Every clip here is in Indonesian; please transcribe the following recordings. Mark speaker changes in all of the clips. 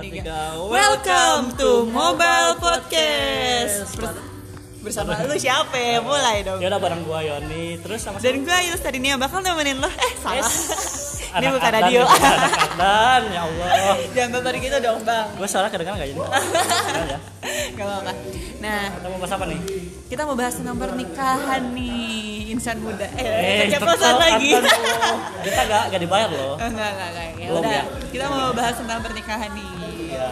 Speaker 1: tiga.
Speaker 2: Welcome to Mobile Podcast. Bers- Bersama lu siapa ya? Mulai dong.
Speaker 1: Ya udah bareng gua Yoni, terus sama
Speaker 2: Dan gue Yus tadi nih yang bakal nemenin lo. Eh salah. Ini
Speaker 1: anak
Speaker 2: bukan
Speaker 1: Adnan
Speaker 2: radio.
Speaker 1: juga, anak Adnan, gitu. ya Allah.
Speaker 2: Jangan baper gitu dong bang.
Speaker 1: Gua soalnya kadang nggak jadi. Beneran ya.
Speaker 2: Gak apa-apa. Nah
Speaker 1: Kita mau bahas apa nih?
Speaker 2: kita mau bahas tentang pernikahan nih insan muda.
Speaker 1: Eh,
Speaker 2: Eh,
Speaker 1: tetep
Speaker 2: keceplosan lagi.
Speaker 1: Adnan lo. Kita nggak nggak dibayar loh.
Speaker 2: Oh, enggak enggak enggak. Ya
Speaker 1: Belum
Speaker 2: udah.
Speaker 1: ya?
Speaker 2: Kita mau bahas tentang pernikahan nih.
Speaker 1: Iya.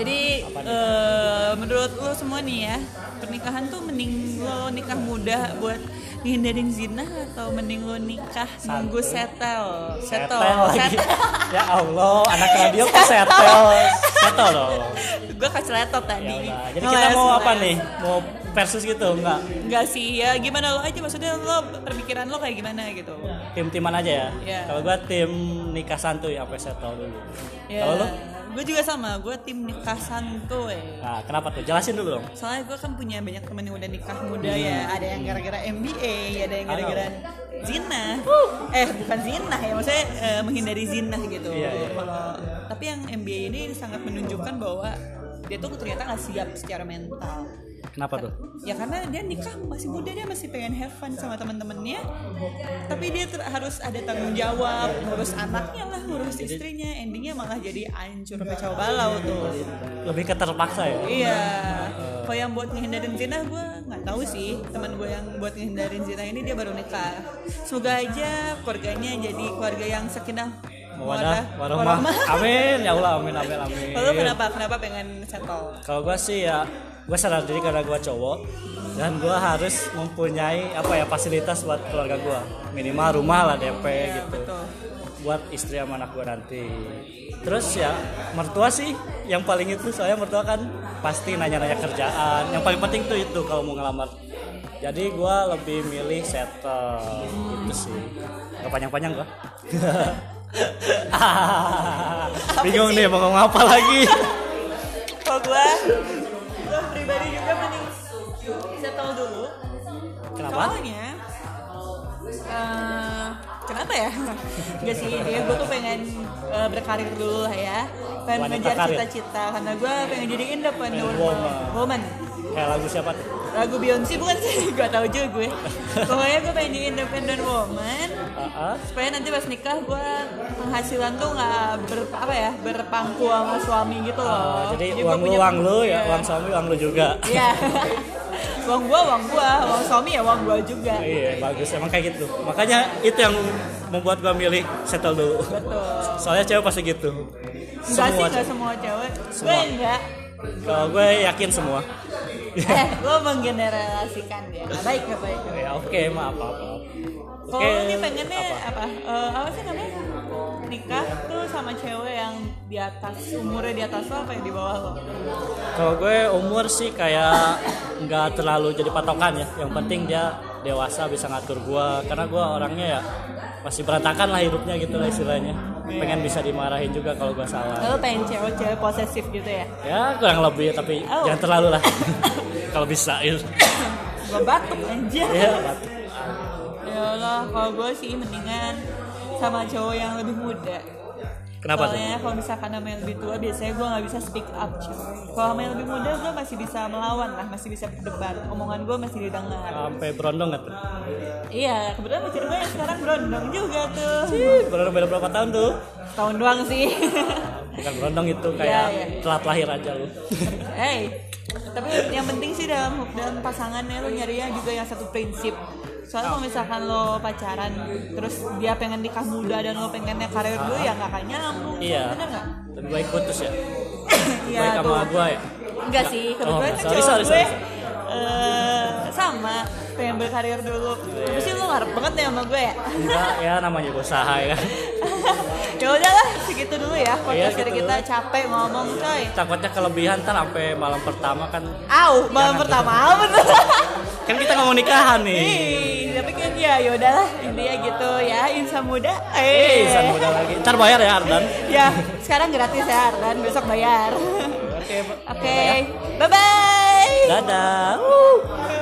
Speaker 2: Jadi eh, menurut lo semua nih ya pernikahan tuh mending lo nikah muda buat ngehindarin zina atau mending lo nikah nunggu settle settle
Speaker 1: Setel lagi. Ya Allah, anak radio kok setel. Setel dong.
Speaker 2: gue kaceletot
Speaker 1: Ya
Speaker 2: tadi Oh,
Speaker 1: udah. Jadi kita mau apa nih? Mau versus gitu enggak?
Speaker 2: Enggak ya. sih ya gimana lo aja maksudnya lo perpikiran lo kayak gimana gitu
Speaker 1: Tim-timan aja ya.
Speaker 2: Iya.
Speaker 1: Kalau gua tim nikah santuy sampai setel dulu.
Speaker 2: ya
Speaker 1: Kalau lu?
Speaker 2: gue juga sama gue tim nikah santuy
Speaker 1: Nah, kenapa tuh? Jelasin dulu dong.
Speaker 2: soalnya gue kan punya banyak temen yang udah nikah muda
Speaker 1: Iya.
Speaker 2: ya ada yang gara-gara MBA ada yang gara-gara zina eh bukan zina ya maksudnya eh, menghindari zina gitu
Speaker 1: Iya, iya.
Speaker 2: kalau tapi yang MBA ini sangat menunjukkan bahwa dia tuh ternyata nggak siap secara mental
Speaker 1: Kenapa tuh?
Speaker 2: ya karena dia nikah masih muda dia masih pengen have fun sama teman-temannya tapi dia ter- harus ada tanggung jawab ngurus anaknya lah ngurus istrinya endingnya malah jadi ancur kacau balau tuh
Speaker 1: Lebih keterpaksa ya.
Speaker 2: Iya. Kalau yang buat ngehindarin zina gue nggak tahu sih. Teman gue yang buat ngehindarin zina ini dia baru nikah. Semoga aja keluarganya jadi keluarga yang sakinah
Speaker 1: Wadah,
Speaker 2: mawaddah,
Speaker 1: warahmah.
Speaker 2: warahmah.
Speaker 1: Amin ya Allah, amin amin amin.
Speaker 2: Kalau lu kenapa kenapa pengen settle?
Speaker 1: Kalau gua sih ya gua sadar diri karena gua cowok dan gua harus mempunyai apa ya fasilitas buat keluarga gua. Minimal rumah lah DP
Speaker 2: Iya,
Speaker 1: gitu.
Speaker 2: betul.
Speaker 1: Buat istri sama anak gua nanti. Terus ya mertua sih yang paling itu soalnya mertua kan pasti nanya-nanya kerjaan. Yang paling penting tuh itu kalau mau ngelamar. Jadi gua lebih milih settle gitu sih. Gak panjang-panjang gua. Bingung nih mau ngomong apa lagi.
Speaker 2: Kalau gue, gue pribadi juga mending settle dulu.
Speaker 1: Kenapa?
Speaker 2: Soalnya, eh, kenapa ya? Gak sih, ya gue tuh pengen eh, berkarir dulu lah ya. Pengen
Speaker 1: Wanita
Speaker 2: ngejar
Speaker 1: karir.
Speaker 2: cita-cita karena gue pengen jadi independent
Speaker 1: Woman.
Speaker 2: woman.
Speaker 1: Kayak lagu siapa tuh?
Speaker 2: Lagu Beyonce bukan sih, gue tau juga gue. Pokoknya gue pengen jadi independent woman
Speaker 1: Aa,
Speaker 2: supaya nanti pas nikah gue penghasilan tuh nggak ber apa ya berpangku sama suami gitu loh.
Speaker 1: uh, jadi
Speaker 2: gua
Speaker 1: uang lu
Speaker 2: punya-
Speaker 1: uang lu ya,
Speaker 2: Iya.
Speaker 1: uang suami uang lu juga.
Speaker 2: Iya. uang gua, uang gua, uang suami ya uang gua juga.
Speaker 1: Iya, bagus. Emang kayak gitu. Makanya itu yang membuat gua milih settle dulu.
Speaker 2: Betul.
Speaker 1: Soalnya cewek pasti gitu.
Speaker 2: Enggak sih,
Speaker 1: Semua.
Speaker 2: enggak semua cewek. Gue
Speaker 1: Semua.
Speaker 2: enggak.
Speaker 1: Kalau gue yakin semua.
Speaker 2: Eh, lo menggeneralisasikan ya. Nggak baik, nggak baik. nggak baik.
Speaker 1: Ya, oke, maaf, maaf, maaf. Oke.
Speaker 2: Kalau lo nih pengennya apa? Apa, Eh, apa sih namanya? Nikah tuh sama cewek yang di atas umurnya di atas lo apa yang di bawah lo?
Speaker 1: Kalau gue umur sih kayak nggak terlalu jadi patokan ya. Yang penting dia dewasa bisa ngatur gue. Karena gue orangnya ya masih berantakan lah hidupnya gitu lah istilahnya. Pengen bisa dimarahin juga kalau gue salah.
Speaker 2: Lo pengen cewek-cewek posesif gitu ya?
Speaker 1: Ya kurang lebih tapi
Speaker 2: Oh.
Speaker 1: jangan terlalu lah. Kalau bisa ya.
Speaker 2: Gue batuk aja.
Speaker 1: Ya, batuk.
Speaker 2: Ya Allah, kalau gue sih mendingan sama cowok yang lebih muda.
Speaker 1: Kenapa tuh?
Speaker 2: Soalnya kalau misalkan sama yang lebih tua biasanya gue nggak bisa speak up cuy. Kalau sama yang lebih muda gue masih bisa melawan lah, masih bisa berdebat. Omongan gue masih didengar.
Speaker 1: Sampai berondong nggak tuh?
Speaker 2: Iya, kebetulan pacar gue yang sekarang berondong juga tuh.
Speaker 1: Ih, Berondong beda berapa tahun tuh?
Speaker 2: Tahun doang sih.
Speaker 1: Bukan berondong itu kayak
Speaker 2: Iya, iya.
Speaker 1: telat lahir aja lu.
Speaker 2: hey, tapi yang penting sih dalam dalam pasangannya lo nyarinya juga yang satu prinsip. Soalnya kalau misalkan lo pacaran, terus dia pengen nikah muda dan lo pengennya karir dulu ya nggak akan nyambung.
Speaker 1: Iya.
Speaker 2: Bener nggak?
Speaker 1: Lebih baik putus ya.
Speaker 2: Iya
Speaker 1: Baik
Speaker 2: tuh.
Speaker 1: sama gue ya.
Speaker 2: Enggak sih, kebetulan
Speaker 1: Oh,
Speaker 2: kan
Speaker 1: sorry,
Speaker 2: cowok
Speaker 1: sorry,
Speaker 2: gue
Speaker 1: sorry.
Speaker 2: eh, sama pengen berkarir dulu. Tapi sih lu ngarep banget nih sama gue ya.
Speaker 1: Enggak, ya namanya juga usaha ya.
Speaker 2: ya udahlah, segitu dulu ya. Podcast
Speaker 1: gitu
Speaker 2: dari kita capek ngomong coy.
Speaker 1: Takutnya kelebihan ntar sampai malam pertama kan.
Speaker 2: Au, malam pertama aman.
Speaker 1: Kan kita nggak mau nikahan nih.
Speaker 2: Ih, tapi kan ya ya udahlah intinya gitu ya insan muda. Eh,
Speaker 1: Eh, san modal lagi. Ntar bayar ya Ardan.
Speaker 2: Ya, sekarang gratis ya dan besok bayar. Oke,
Speaker 1: Oke,
Speaker 2: bye bye.
Speaker 1: dadah. Wuh.